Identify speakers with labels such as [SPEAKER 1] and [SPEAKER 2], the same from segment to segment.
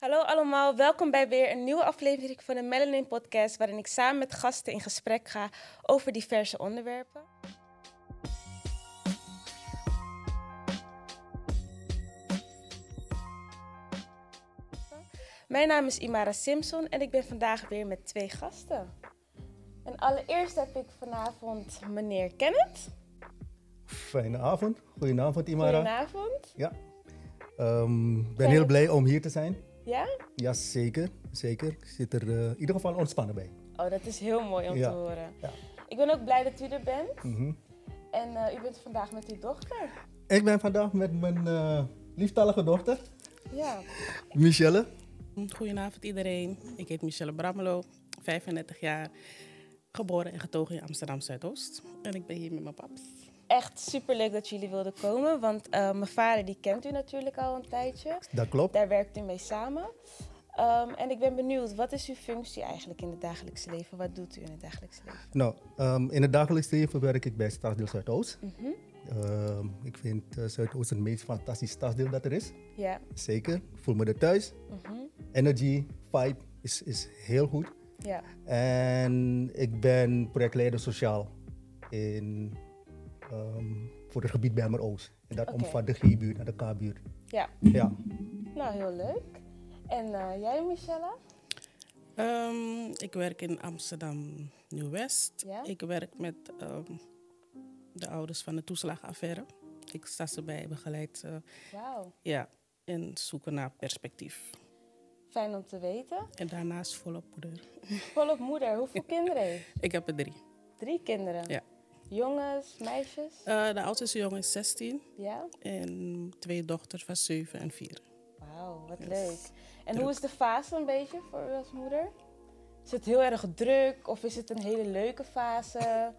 [SPEAKER 1] Hallo allemaal, welkom bij weer een nieuwe aflevering van de Melanin Podcast, waarin ik samen met gasten in gesprek ga over diverse onderwerpen. Mijn naam is Imara Simpson en ik ben vandaag weer met twee gasten. En allereerst heb ik vanavond meneer Kenneth.
[SPEAKER 2] Fijne avond. Goedenavond, Imara.
[SPEAKER 1] Goedenavond.
[SPEAKER 2] Ja. Ehm, Ik ben
[SPEAKER 1] Fijn.
[SPEAKER 2] heel blij om hier te zijn.
[SPEAKER 1] Ja?
[SPEAKER 2] Ja, zeker. Zeker. Ik zit er eh, in ieder geval ontspannen bij.
[SPEAKER 1] Oh, dat is heel mooi om
[SPEAKER 2] Ja.
[SPEAKER 1] te horen.
[SPEAKER 2] Ja.
[SPEAKER 1] Ik ben ook blij dat u er bent.
[SPEAKER 2] Mhm.
[SPEAKER 1] En eh, u bent vandaag met uw dochter.
[SPEAKER 2] Ik ben vandaag met mijn eh lieftallige dochter,
[SPEAKER 1] Ja.
[SPEAKER 2] Michelle.
[SPEAKER 3] Goedenavond iedereen. Ik heet Michelle Brammelo, 35 jaar, geboren en getogen in Amsterdam Zuidoost. En ik ben hier met mijn paps.
[SPEAKER 1] Echt superleuk dat jullie wilden komen, want eh, mijn vader die kent u natuurlijk al een tijdje.
[SPEAKER 2] Dat klopt.
[SPEAKER 1] Daar werkt u mee samen. Ehm, en ik ben benieuwd, wat is uw functie eigenlijk in het dagelijks leven? Wat doet u in het dagelijks leven?
[SPEAKER 2] Nou, ehm, in het dagelijks leven werk ik bij Stadsdeel Zuidoost. Ehm, ik vind eh, Zuidoost het meest fantastisch stadsdeel dat er is.
[SPEAKER 1] Ja,
[SPEAKER 2] Zeker. Ik voel me er thuis. Energy, vibe is, is heel goed.
[SPEAKER 1] ja.
[SPEAKER 2] En ik ben projectleider sociaal in, ehm, voor het gebied Bijlmer Oost. En dat
[SPEAKER 1] Oké.
[SPEAKER 2] omvat de G-buurt en de K-buurt.
[SPEAKER 1] Ja,
[SPEAKER 2] Ja.
[SPEAKER 1] nou heel leuk. En eh, jij Michelle?
[SPEAKER 3] Ehm, ik werk in Amsterdam Nieuw-West.
[SPEAKER 1] Ja?
[SPEAKER 3] Ik werk met ehm, de ouders van de toeslagaffaire. Ik sta ze bij, begeleid eh,
[SPEAKER 1] Wauw,
[SPEAKER 3] ja, en zoeken naar perspectief.
[SPEAKER 1] fijn om te weten.
[SPEAKER 3] En daarnaast volop moeder.
[SPEAKER 1] Volop moeder, hoeveel kinderen heeft? u?
[SPEAKER 3] Ik heb er drie.
[SPEAKER 1] Drie kinderen.
[SPEAKER 3] Ja.
[SPEAKER 1] Jongens, meisjes?
[SPEAKER 3] Eh, de oudste jongen is 16
[SPEAKER 1] Ja?
[SPEAKER 3] en twee dochters van 7 en 4.
[SPEAKER 1] Wauw, wat leuk. En hoe is de fase een beetje voor u als moeder? Is het heel erg druk of is het een hele leuke fase?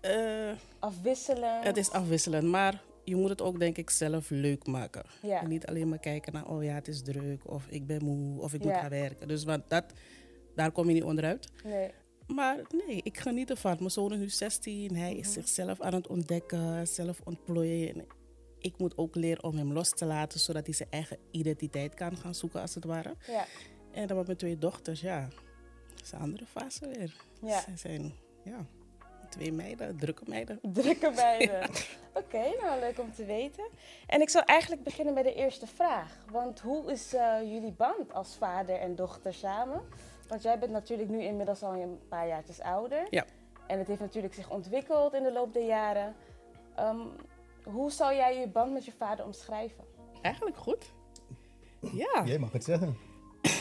[SPEAKER 3] Eh,
[SPEAKER 1] Afwisselen?
[SPEAKER 3] Het is afwisselend, maar je moet het ook denk ik zelf leuk maken.
[SPEAKER 1] Ja.
[SPEAKER 3] En niet alleen maar kijken naar, oh ja, het is druk, of ik ben moe, of ik moet
[SPEAKER 1] Ja.
[SPEAKER 3] gaan werken. Dus want dat, daar kom je niet onderuit.
[SPEAKER 1] Nee.
[SPEAKER 3] Maar nee, ik geniet ervan. Mijn zoon is nu 16, hij
[SPEAKER 1] Mhm.
[SPEAKER 3] is zichzelf aan het ontdekken, zelf ontplooien. En ik moet ook leren om hem los te laten, zodat hij zijn eigen identiteit kan gaan zoeken, als het ware.
[SPEAKER 1] Ja.
[SPEAKER 3] En dan met mijn twee dochters, ja, dat is een andere fase weer.
[SPEAKER 1] Ja.
[SPEAKER 3] Ze zijn, ja, twee meiden, drukke meiden.
[SPEAKER 1] Drukke beide. Oké, nou leuk om te weten. En ik zou eigenlijk beginnen bij de eerste vraag. Want hoe is eh, jullie band als vader en dochter samen? Want jij bent natuurlijk nu inmiddels al een paar jaartjes ouder.
[SPEAKER 3] Ja.
[SPEAKER 1] En het heeft natuurlijk zich ontwikkeld in de loop der jaren. Ehm, hoe zou jij je band met je vader omschrijven?
[SPEAKER 3] Eigenlijk goed. Ja.
[SPEAKER 2] Jij mag het zeggen.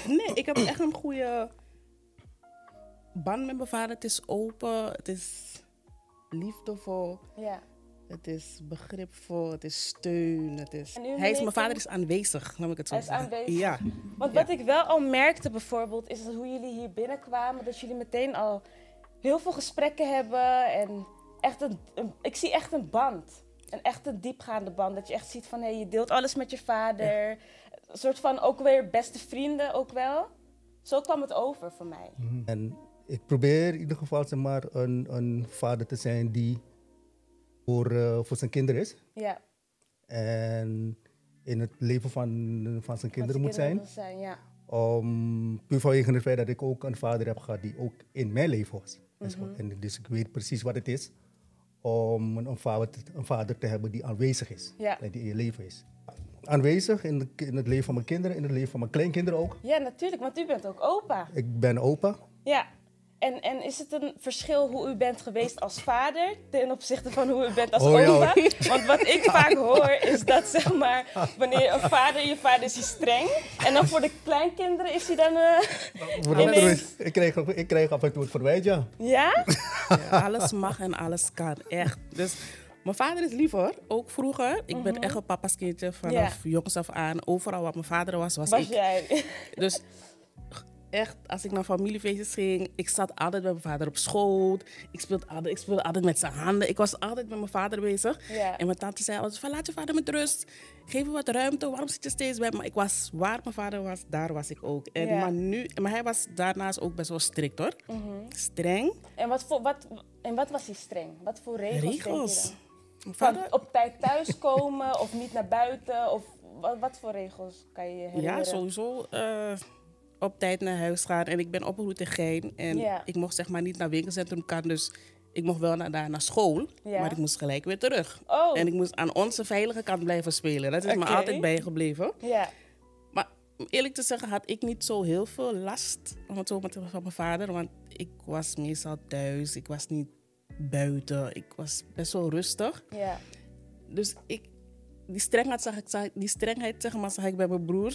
[SPEAKER 3] Nee, ik heb echt een goede band met mijn vader. Het is open, het is liefdevol,
[SPEAKER 1] Ja.
[SPEAKER 3] het is begripvol, het is steun. Het is...
[SPEAKER 1] En uw
[SPEAKER 3] Hij is, mijn
[SPEAKER 1] mening?
[SPEAKER 3] vader is aanwezig, laat ik het zo
[SPEAKER 1] Hij is
[SPEAKER 3] zeggen.
[SPEAKER 1] aanwezig.
[SPEAKER 3] Ja,
[SPEAKER 1] Want
[SPEAKER 3] Ja.
[SPEAKER 1] wat ik wel al merkte bijvoorbeeld, is dat hoe jullie hier binnenkwamen, dat jullie meteen al heel veel gesprekken hebben. En echt een, een- ik zie echt een band. Een echt een diepgaande band. Dat je echt ziet van, hé, je deelt alles met je vader. Een soort van ook weer beste vrienden ook wel. Zo kwam het over voor mij.
[SPEAKER 2] Mhm. En ik probeer in ieder geval zeg maar, een, een vader te zijn die voor, eh, voor zijn kinderen is.
[SPEAKER 1] Ja.
[SPEAKER 2] En in het leven van, van zijn kinderen moet zijn.
[SPEAKER 1] moet zijn. Ja.
[SPEAKER 2] Om, puur vanwege het feit dat ik ook een vader heb gehad die ook in mijn leven was. En zo. En dus ik weet precies wat het is om een, een vader, te, een vader te hebben die aanwezig is.
[SPEAKER 1] Ja.
[SPEAKER 2] En die in je leven is. Aanwezig in, de- in het leven van mijn kinderen, in het leven van mijn kleinkinderen ook.
[SPEAKER 1] ja, natuurlijk, want u bent ook opa.
[SPEAKER 2] Ik ben opa.
[SPEAKER 1] Ja. En, en is het een verschil hoe u bent geweest als vader ten opzichte van hoe u bent als
[SPEAKER 2] Oh, ja,
[SPEAKER 1] oma? Want wat ik vaak hoor is dat zeg maar wanneer een vader, je vader is hij streng. En dan voor de kleinkinderen is hij dan. eh,
[SPEAKER 2] Voor
[SPEAKER 1] Ineens.
[SPEAKER 2] anderen- ik, krijg, ik krijg af en toe het verwijt, ja.
[SPEAKER 1] Ja?
[SPEAKER 3] Ja, alles mag en alles kan, echt. Dus mijn vader is lief hoor, ook vroeger. Ik
[SPEAKER 1] Mhm.
[SPEAKER 3] ben echt een papa's kindje vanaf jongs af aan. Overal waar mijn vader was, was,
[SPEAKER 1] Was
[SPEAKER 3] ik.
[SPEAKER 1] jij?
[SPEAKER 3] Dus echt, als ik naar familiefeestjes ging, ik zat altijd bij mijn vader op schoot. Ik speelde altijd, ik speelde altijd met zijn handen. Ik was altijd met mijn vader bezig.
[SPEAKER 1] Ja.
[SPEAKER 3] En mijn tante zei altijd van, laat je vader met rust. Geef hem wat ruimte. Waarom zit je steeds bij me? Maar ik was waar mijn vader was, daar was ik ook. En,
[SPEAKER 1] Ja. Mhm.
[SPEAKER 3] maar, nu, maar hij was daarnaast ook best wel strikt hoor. Streng.
[SPEAKER 1] En wat, voor, wat, en wat was hij streng? Wat voor regels? denk je
[SPEAKER 3] Regels.
[SPEAKER 1] dan?
[SPEAKER 3] Mijn
[SPEAKER 1] Van
[SPEAKER 3] vader,
[SPEAKER 1] op tijd thuiskomen of niet naar buiten? Of wa- wa- wat voor regels kan je je herinneren?
[SPEAKER 3] Ja, sowieso eh, op tijd naar huis gaan. En ik ben opgegroeid in Gein. En
[SPEAKER 1] Ja.
[SPEAKER 3] ik mocht zeg maar niet naar winkelcentrum kan. Dus ik mocht wel naar, daar naar school.
[SPEAKER 1] Ja.
[SPEAKER 3] Maar ik moest gelijk weer terug.
[SPEAKER 1] Oh.
[SPEAKER 3] En ik moest aan onze veilige kant blijven spelen. Dat is me
[SPEAKER 1] Oké.
[SPEAKER 3] altijd bijgebleven.
[SPEAKER 1] Ja,
[SPEAKER 3] Maar om eerlijk te zeggen had ik niet zo heel veel last om het zo maar te zeggen, van mijn vader. Want ik was meestal thuis. Ik was niet buiten. Ik was best wel rustig.
[SPEAKER 1] ja.
[SPEAKER 3] Dus ik, die strengheid zag ik, zag- die strengheid, zeg maar, zag ik bij mijn broer,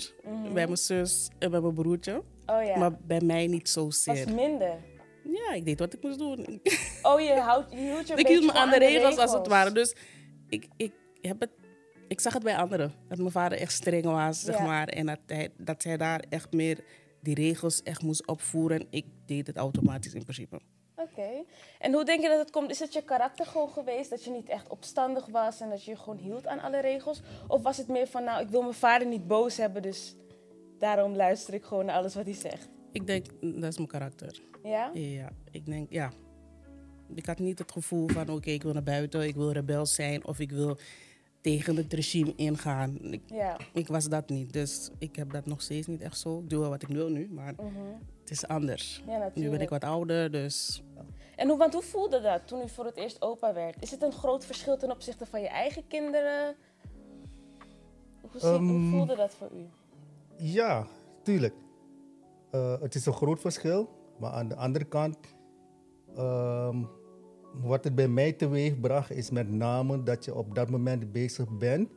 [SPEAKER 3] bij mijn zus en bij mijn broertje.
[SPEAKER 1] Oh Mhm. ja.
[SPEAKER 3] Maar bij mij
[SPEAKER 1] was
[SPEAKER 3] niet zozeer.
[SPEAKER 1] minder.
[SPEAKER 3] Ja, ik deed wat ik moest doen.
[SPEAKER 1] Oh, je houdt je hield je een
[SPEAKER 3] ik
[SPEAKER 1] beetje
[SPEAKER 3] hield me
[SPEAKER 1] gewoon
[SPEAKER 3] aan de regels als het ware. Dus ik, ik, heb het, ik zag het bij anderen. Dat mijn vader echt streng was, zeg
[SPEAKER 1] Ja.
[SPEAKER 3] maar. En dat hij, dat hij daar echt meer die regels echt moest opvoeren. Ik deed het automatisch in principe.
[SPEAKER 1] Oké. En hoe denk je dat het komt? Is het je karakter gewoon geweest? Dat je niet echt opstandig was en dat je je gewoon hield aan alle regels? Of was het meer van, nou, ik wil mijn vader niet boos hebben, dus daarom luister ik gewoon naar alles wat hij zegt?
[SPEAKER 3] Ik denk, dat is mijn karakter.
[SPEAKER 1] Ja?
[SPEAKER 3] Ja, ik denk, ja. Ik had niet het gevoel van, oké, ik wil naar buiten, ik wil rebel zijn of ik wil tegen het regime ingaan. Ik,
[SPEAKER 1] Ja.
[SPEAKER 3] ik was dat niet, dus ik heb dat nog steeds niet echt zo. Ik doe wel wat ik wil nu, maar het is anders.
[SPEAKER 1] Mhm. Ja, natuurlijk.
[SPEAKER 3] nu ben ik wat ouder, dus
[SPEAKER 1] En hoe, want hoe voelde dat toen u voor het eerst opa werd? Is het een groot verschil ten opzichte van je eigen kinderen? Hoe, zie- hoe
[SPEAKER 2] Ehm,
[SPEAKER 1] voelde dat voor u?
[SPEAKER 2] Ja, tuurlijk. Eh, het is een groot verschil. Maar aan de andere kant, ehm, wat het bij mij teweeg bracht, is met name dat je op dat moment bezig bent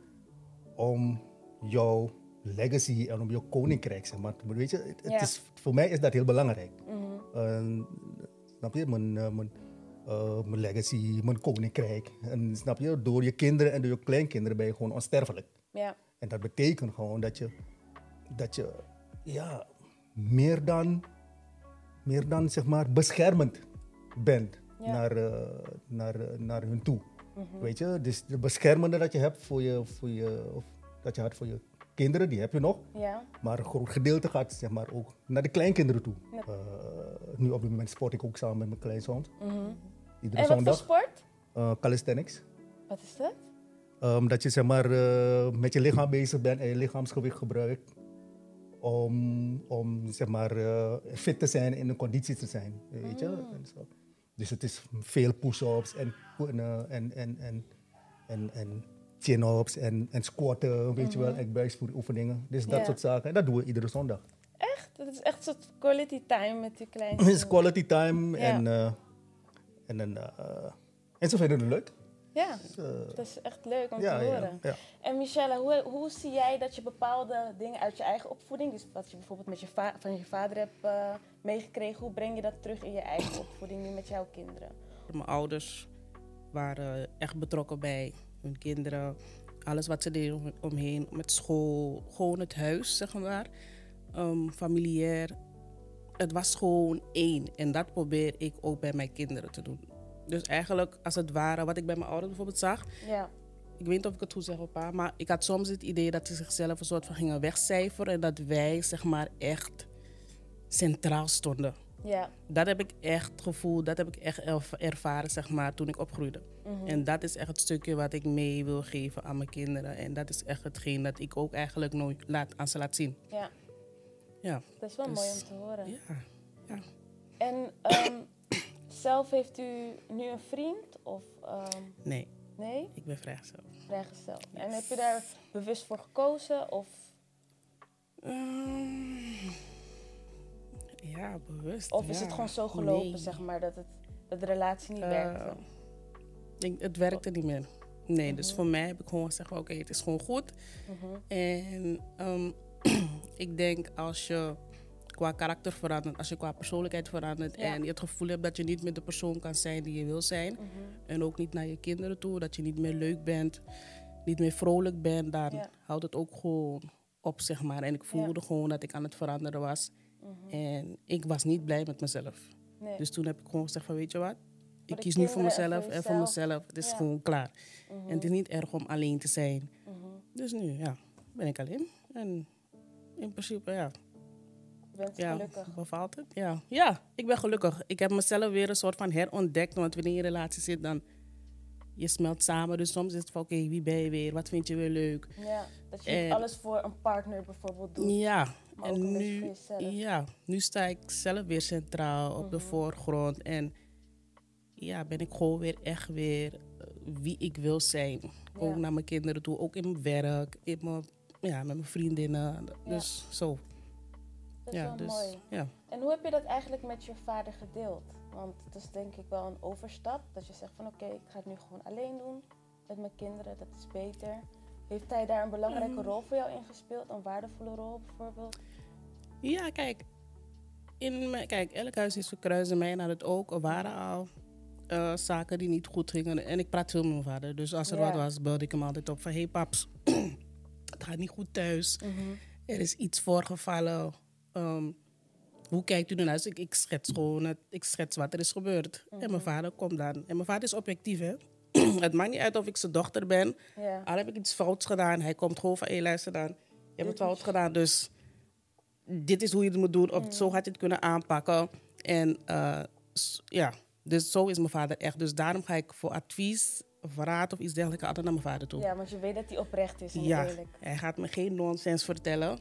[SPEAKER 2] om jouw legacy en om jouw koninkrijk. Zeg maar. Weet je, het, het
[SPEAKER 1] Ja.
[SPEAKER 2] is, voor mij is dat heel belangrijk. Eh, snap je? Mijn, eh, mijn, eh, mijn legacy, mijn koninkrijk. En snap je? Door je kinderen en door je kleinkinderen ben je gewoon onsterfelijk.
[SPEAKER 1] Ja.
[SPEAKER 2] En dat betekent gewoon dat je, dat je ja, meer, dan, meer dan zeg maar beschermend bent
[SPEAKER 1] Ja. Mhm.
[SPEAKER 2] naar, eh, naar, eh, naar hun toe. Weet je, dus de beschermende dat je hebt voor je, voor je, of dat je had voor je kinderen, die heb je nog.
[SPEAKER 1] Ja.
[SPEAKER 2] Maar een groot gedeelte gaat zeg maar, ook naar de kleinkinderen toe.
[SPEAKER 1] Ja.
[SPEAKER 2] Eh, nu op dit moment sport ik ook samen met mijn kleinzoon. Iedere
[SPEAKER 1] Mhm. En wat voor
[SPEAKER 2] zondag.
[SPEAKER 1] sport?
[SPEAKER 2] eh, calisthenics.
[SPEAKER 1] Wat is dat?
[SPEAKER 2] Ehm, dat je zeg maar, eh, met je lichaam bezig bent en je lichaamsgewicht gebruikt om, om zeg maar, eh, fit te zijn en in een conditie te zijn. Weet je?
[SPEAKER 1] Mm.
[SPEAKER 2] En zo. Dus het is veel push-ups en, en, eh, en, en, en, en, en chin-ups en, en squatten, weet je wel, en buikspieroefeningen. Dus
[SPEAKER 1] Mm-hmm.
[SPEAKER 2] dat
[SPEAKER 1] Ja. Mm-hmm.
[SPEAKER 2] soort zaken. En dat doen we iedere zondag.
[SPEAKER 1] Echt? Dat is echt een soort quality time met die kleine.
[SPEAKER 2] Het is quality time
[SPEAKER 1] Ja.
[SPEAKER 2] en, eh, en, dan, eh, en ze vinden het leuk.
[SPEAKER 1] Ja,
[SPEAKER 2] Eh,
[SPEAKER 1] dat is echt leuk om
[SPEAKER 2] ja,
[SPEAKER 1] te
[SPEAKER 2] ja,
[SPEAKER 1] horen.
[SPEAKER 2] ja.
[SPEAKER 1] En Michelle, hoe, hoe zie jij dat je bepaalde dingen uit je eigen opvoeding, dus wat je bijvoorbeeld met je va- van je vader hebt eh, meegekregen, hoe breng je dat terug in je eigen opvoeding nu met jouw kinderen?
[SPEAKER 3] Mijn ouders waren echt betrokken bij hun kinderen. Alles wat ze deden om- omheen, met school, gewoon het huis, zeg maar. Ehm familiair. Het was gewoon één. En dat probeer ik ook bij mijn kinderen te doen. Dus eigenlijk, als het ware, wat ik bij mijn ouders bijvoorbeeld zag.
[SPEAKER 1] Ja,
[SPEAKER 3] Ik weet niet of ik het goed zeg, opa. Maar ik had soms het idee dat ze zichzelf een soort van gingen wegcijferen. En dat wij, zeg maar, echt centraal stonden
[SPEAKER 1] ja,
[SPEAKER 3] dat heb ik echt gevoel, dat heb ik echt erv- ervaren, zeg maar, toen ik opgroeide.
[SPEAKER 1] Mhm.
[SPEAKER 3] En dat is echt het stukje wat ik mee wil geven aan mijn kinderen. En dat is echt hetgeen dat ik ook eigenlijk nooit laat, aan ze laat zien.
[SPEAKER 1] ja.
[SPEAKER 3] Ja.
[SPEAKER 1] Dat is wel
[SPEAKER 3] Dus-
[SPEAKER 1] mooi om te horen.
[SPEAKER 3] Ja. ja.
[SPEAKER 1] En ehm, zelf heeft u nu een vriend of ehm,
[SPEAKER 3] Nee,
[SPEAKER 1] nee,
[SPEAKER 3] ik ben vrijgezel.
[SPEAKER 1] vrijgezel. En heb je daar bewust voor gekozen of
[SPEAKER 3] Ehm, ja, bewust.
[SPEAKER 1] Of is
[SPEAKER 3] ja.
[SPEAKER 1] het gewoon zo gelopen,
[SPEAKER 3] Nee. Eh,
[SPEAKER 1] zeg maar, dat, het, dat de relatie niet werkte?
[SPEAKER 3] Ik denk, het werkte niet meer. Nee, dus
[SPEAKER 1] Oh.
[SPEAKER 3] voor mij heb ik gewoon gezegd, oké, het is gewoon goed.
[SPEAKER 1] Mhm,
[SPEAKER 3] En ehm, ik denk als je qua karakter verandert, als je qua persoonlijkheid verandert...
[SPEAKER 1] Ja.
[SPEAKER 3] en je het gevoel hebt dat je niet meer de persoon kan zijn die je wil zijn...
[SPEAKER 1] mhm.
[SPEAKER 3] en ook niet naar je kinderen toe, dat je niet meer leuk bent, niet meer vrolijk bent... dan
[SPEAKER 1] Ja.
[SPEAKER 3] houdt het ook gewoon op, zeg maar. En ik voelde gewoon dat ik aan het veranderen was.
[SPEAKER 1] Mhm.
[SPEAKER 3] En ik was niet blij met mezelf.
[SPEAKER 1] Nee.
[SPEAKER 3] Dus toen heb ik gewoon gezegd van, weet je wat? Ik
[SPEAKER 1] de
[SPEAKER 3] kies nu voor
[SPEAKER 1] kinderen en
[SPEAKER 3] mezelf
[SPEAKER 1] voor
[SPEAKER 3] en voor
[SPEAKER 1] jezelf.
[SPEAKER 3] mezelf. Het is
[SPEAKER 1] Ja. Mhm.
[SPEAKER 3] gewoon klaar. En het is niet erg om alleen te zijn. Dus nu, ja, ben ik alleen. En in principe, ja.
[SPEAKER 1] Je bent
[SPEAKER 3] ja
[SPEAKER 1] gelukkig.
[SPEAKER 3] Bevalt het? Ja. ja, ik ben gelukkig. Ik heb mezelf weer een soort van herontdekt. Want wanneer je in een relatie zit, dan Je smelt samen, dus soms is het van oké, wie ben je weer? Wat vind je weer leuk?
[SPEAKER 1] Ja, dat je niet
[SPEAKER 3] En-
[SPEAKER 1] alles voor een partner bijvoorbeeld doet.
[SPEAKER 3] Eh, Ja,
[SPEAKER 1] Maar ook
[SPEAKER 3] en
[SPEAKER 1] een beetje
[SPEAKER 3] nu,
[SPEAKER 1] voor jezelf.
[SPEAKER 3] ja, nu sta ik zelf weer centraal op
[SPEAKER 1] Mhm.
[SPEAKER 3] de voorgrond. En ja, ben ik gewoon weer echt weer eh, wie ik wil zijn. Ook naar mijn kinderen toe, ook in mijn werk, in mijn, ja, met mijn vriendinnen. Dus zo.
[SPEAKER 1] Dat is
[SPEAKER 3] Ja,
[SPEAKER 1] wel
[SPEAKER 3] dus,
[SPEAKER 1] mooi.
[SPEAKER 3] ja.
[SPEAKER 1] En hoe heb je dat eigenlijk met je vader gedeeld? Want het is denk ik wel een overstap. Dat je zegt van oké, ik ga het nu gewoon alleen doen. Met mijn kinderen, dat is beter. Heeft hij daar een belangrijke
[SPEAKER 3] Mhm.
[SPEAKER 1] rol voor jou in gespeeld? Een waardevolle rol bijvoorbeeld?
[SPEAKER 3] Ja, kijk. In mijn, kijk, elk huis is gekruist. En mij had het ook. Er waren al eh, zaken die niet goed gingen. En ik praat veel met mijn vader. Dus als er
[SPEAKER 1] Ja.
[SPEAKER 3] wat was, belde ik hem altijd op. Van, hey paps, het gaat niet goed thuis.
[SPEAKER 1] Mhm.
[SPEAKER 3] Er is iets voorgevallen. Ehm, hoe kijkt u ernaar? Dus ik, ik schets gewoon het, ik schets wat er is gebeurd. En
[SPEAKER 1] Mhm.
[SPEAKER 3] mijn vader komt dan. En mijn vader is objectief, hè. het maakt niet uit of ik zijn dochter ben.
[SPEAKER 1] Ja.
[SPEAKER 3] Al heb ik iets fouts gedaan. Hij komt gewoon van, hé, luister dan. Je hebt het
[SPEAKER 1] Mhm.
[SPEAKER 3] fout gedaan, dus dit is hoe je het moet doen. Of zo
[SPEAKER 1] Mm.
[SPEAKER 3] had je het kunnen aanpakken. En eh, s- ja, dus zo is mijn vader echt. Dus daarom ga ik voor advies, of raad of iets dergelijks altijd naar mijn vader toe.
[SPEAKER 1] Ja, want je weet dat hij oprecht is en
[SPEAKER 3] Ja,
[SPEAKER 1] eerlijk. Mhm.
[SPEAKER 3] hij gaat me geen nonsens vertellen.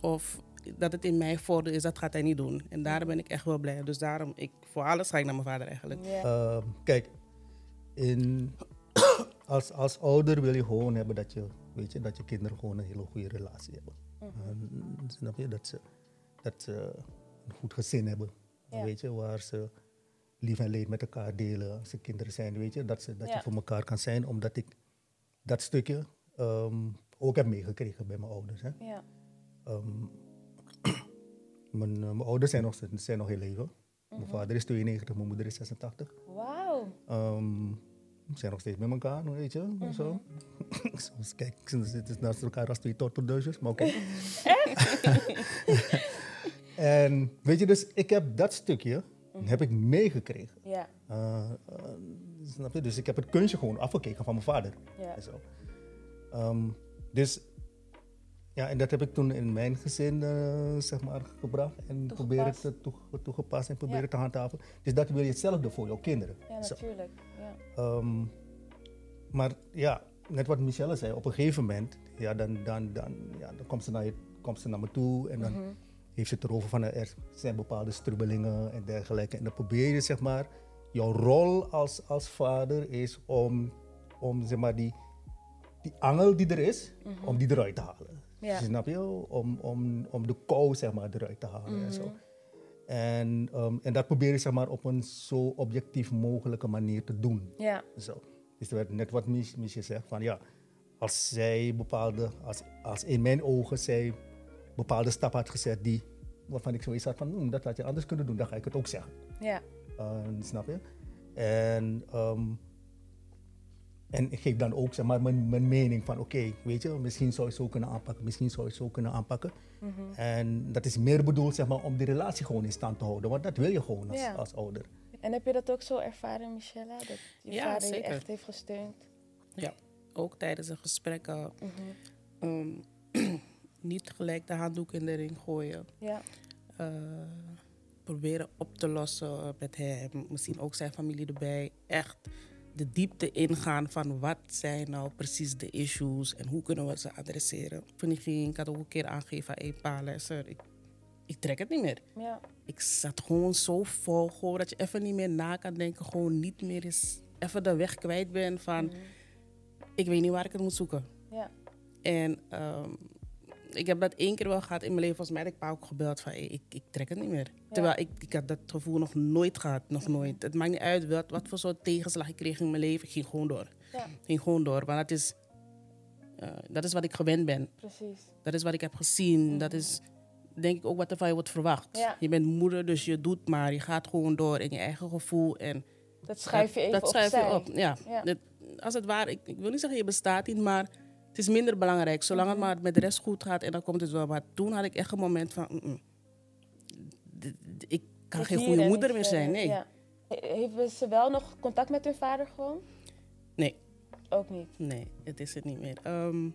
[SPEAKER 3] Of dat het in mijn voordeel is, dat gaat hij niet doen. En daar ben ik echt wel blij. om. Dus daarom, ik, voor alles ga ik naar mijn vader eigenlijk.
[SPEAKER 1] Ja.
[SPEAKER 2] Ehm, kijk, in, als, als ouder wil je gewoon hebben dat je, weet je, dat je kinderen gewoon een hele goede relatie hebben.
[SPEAKER 1] Mhm.
[SPEAKER 2] En, snap je? Dat ze, dat ze een goed gezin hebben.
[SPEAKER 1] Ja.
[SPEAKER 2] Weet je, waar ze lief en leed met elkaar delen als ze kinderen zijn. Weet je, dat, ze, dat
[SPEAKER 1] Ja.
[SPEAKER 2] je voor elkaar kan zijn, omdat ik dat stukje ehm, ook heb meegekregen bij mijn ouders. Hè?
[SPEAKER 3] Eh.
[SPEAKER 1] ja.
[SPEAKER 2] Ehm, mijn, eh, mijn ouders zijn nog, zijn nog in leven.
[SPEAKER 1] Mhm.
[SPEAKER 2] Mijn vader is 92, mijn moeder is 86.
[SPEAKER 1] Wauw.
[SPEAKER 2] Ehm, we zijn nog steeds met elkaar, weet je. en Zo.
[SPEAKER 1] Mhm.
[SPEAKER 2] Soms kijk, ze zitten naast elkaar als twee torteldeusjes, maar oké. en weet je, dus ik heb dat stukje
[SPEAKER 1] Mhm.
[SPEAKER 2] heb ik meegekregen.
[SPEAKER 1] Ja.
[SPEAKER 2] Eh, eh, snap je? Dus ik heb het kunstje gewoon afgekeken van mijn vader.
[SPEAKER 1] Ja.
[SPEAKER 2] En zo. Ehm, dus ja, en dat heb ik toen in mijn gezin eh, zeg maar, gebracht en proberen
[SPEAKER 1] Toegepast.
[SPEAKER 2] te, toe- toegepast en proberen
[SPEAKER 1] Ja.
[SPEAKER 2] te handhaven. Dus dat wil je hetzelfde voor jouw kinderen.
[SPEAKER 1] Ja,
[SPEAKER 2] Zo.
[SPEAKER 1] natuurlijk. Ja.
[SPEAKER 2] Ehm, maar ja, net wat Michelle zei, op een gegeven moment, ja, dan, dan, dan, ja, dan komt, ze naar je, komt ze naar me toe en dan heeft ze het erover van eh, er zijn bepaalde strubbelingen en dergelijke. En dan probeer je, zeg maar, jouw rol als, als vader is om, om zeg maar, die, die angel die er is, om die eruit te halen. Dus
[SPEAKER 1] Ja.
[SPEAKER 2] Snap je? Om, om, om de kou, zeg maar, eruit te halen en zo. En, ehm, en dat probeer je zeg maar, op een zo objectief mogelijke manier te doen.
[SPEAKER 1] Ja.
[SPEAKER 2] Zo. Dus er werd net wat Mich- Michel zegt van ja, als zij bepaalde, als, als in mijn ogen zij bepaalde stap had gezet die, waarvan ik zoiets had van "Hmm, dat had je anders kunnen doen, dan ga ik het ook zeggen.
[SPEAKER 1] Ja.
[SPEAKER 2] Eh, snap je? En, ehm, en ik geef dan ook zeg maar, mijn, mijn mening van oké, weet je, misschien zou je het zo kunnen aanpakken, misschien zou je het zo kunnen aanpakken. En dat is meer bedoeld zeg maar, om die relatie gewoon in stand te houden, want dat wil je gewoon als,
[SPEAKER 1] Ja.
[SPEAKER 2] als ouder.
[SPEAKER 1] En heb je dat ook zo ervaren, Michelle? Dat je
[SPEAKER 3] Ja,
[SPEAKER 1] vader
[SPEAKER 3] zeker.
[SPEAKER 1] je echt heeft gesteund?
[SPEAKER 3] Ja, ook tijdens een gesprek. eh,
[SPEAKER 1] Mhm.
[SPEAKER 3] ehm, niet gelijk de handdoek in de ring gooien.
[SPEAKER 1] Ja.
[SPEAKER 3] eh, proberen op te lossen eh, met hem. Misschien ook zijn familie erbij. Echt de diepte ingaan van wat zijn nou precies de issues en hoe kunnen we ze adresseren. Toen ik ging, ik had ook een keer aangegeven aan een paar luister, ik, ik trek het niet meer.
[SPEAKER 1] Ja.
[SPEAKER 3] Ik zat gewoon zo vol, gewoon dat je even niet meer na kan denken. Gewoon niet meer eens even de weg kwijt ben van ik weet niet waar ik het moet zoeken.
[SPEAKER 1] Ja.
[SPEAKER 3] En ehm, ik heb dat één keer wel gehad in mijn leven. Volgens mij heb ik pa ook gebeld van, "Hey, ik, ik trek het niet meer. Terwijl ik, ik had dat gevoel nog nooit gehad, nog nooit. Het maakt niet uit wat, wat voor soort tegenslag ik kreeg in mijn leven. Ik ging gewoon door.
[SPEAKER 1] Ja.
[SPEAKER 3] Ik ging gewoon door, want dat is, eh, dat is wat ik gewend ben.
[SPEAKER 1] Precies.
[SPEAKER 3] Dat is wat ik heb gezien. Dat is denk ik ook wat er van je wordt verwacht.
[SPEAKER 1] Ja.
[SPEAKER 3] Je bent moeder, dus je doet maar. Je gaat gewoon door in je eigen gevoel. En
[SPEAKER 1] Dat schuif je even
[SPEAKER 3] dat schuif je
[SPEAKER 1] opzij.
[SPEAKER 3] op. Ja.
[SPEAKER 1] Ja.
[SPEAKER 3] Dat- als het ware, ik, ik wil niet zeggen je bestaat niet, maar het is minder belangrijk. Zolang
[SPEAKER 1] Mhm.
[SPEAKER 3] het maar met de rest goed gaat en dan komt het wel. Maar toen had ik echt een moment van, mm, mm. D- d- ik kan
[SPEAKER 1] Tot
[SPEAKER 3] geen
[SPEAKER 1] hier
[SPEAKER 3] goede
[SPEAKER 1] en
[SPEAKER 3] moeder
[SPEAKER 1] niet
[SPEAKER 3] meer
[SPEAKER 1] verder,
[SPEAKER 3] zijn. Nee.
[SPEAKER 1] ja. He- Hebben ze wel nog contact met hun vader gewoon?
[SPEAKER 3] nee,
[SPEAKER 1] Ook niet.
[SPEAKER 3] nee, het is het niet meer. Ehm,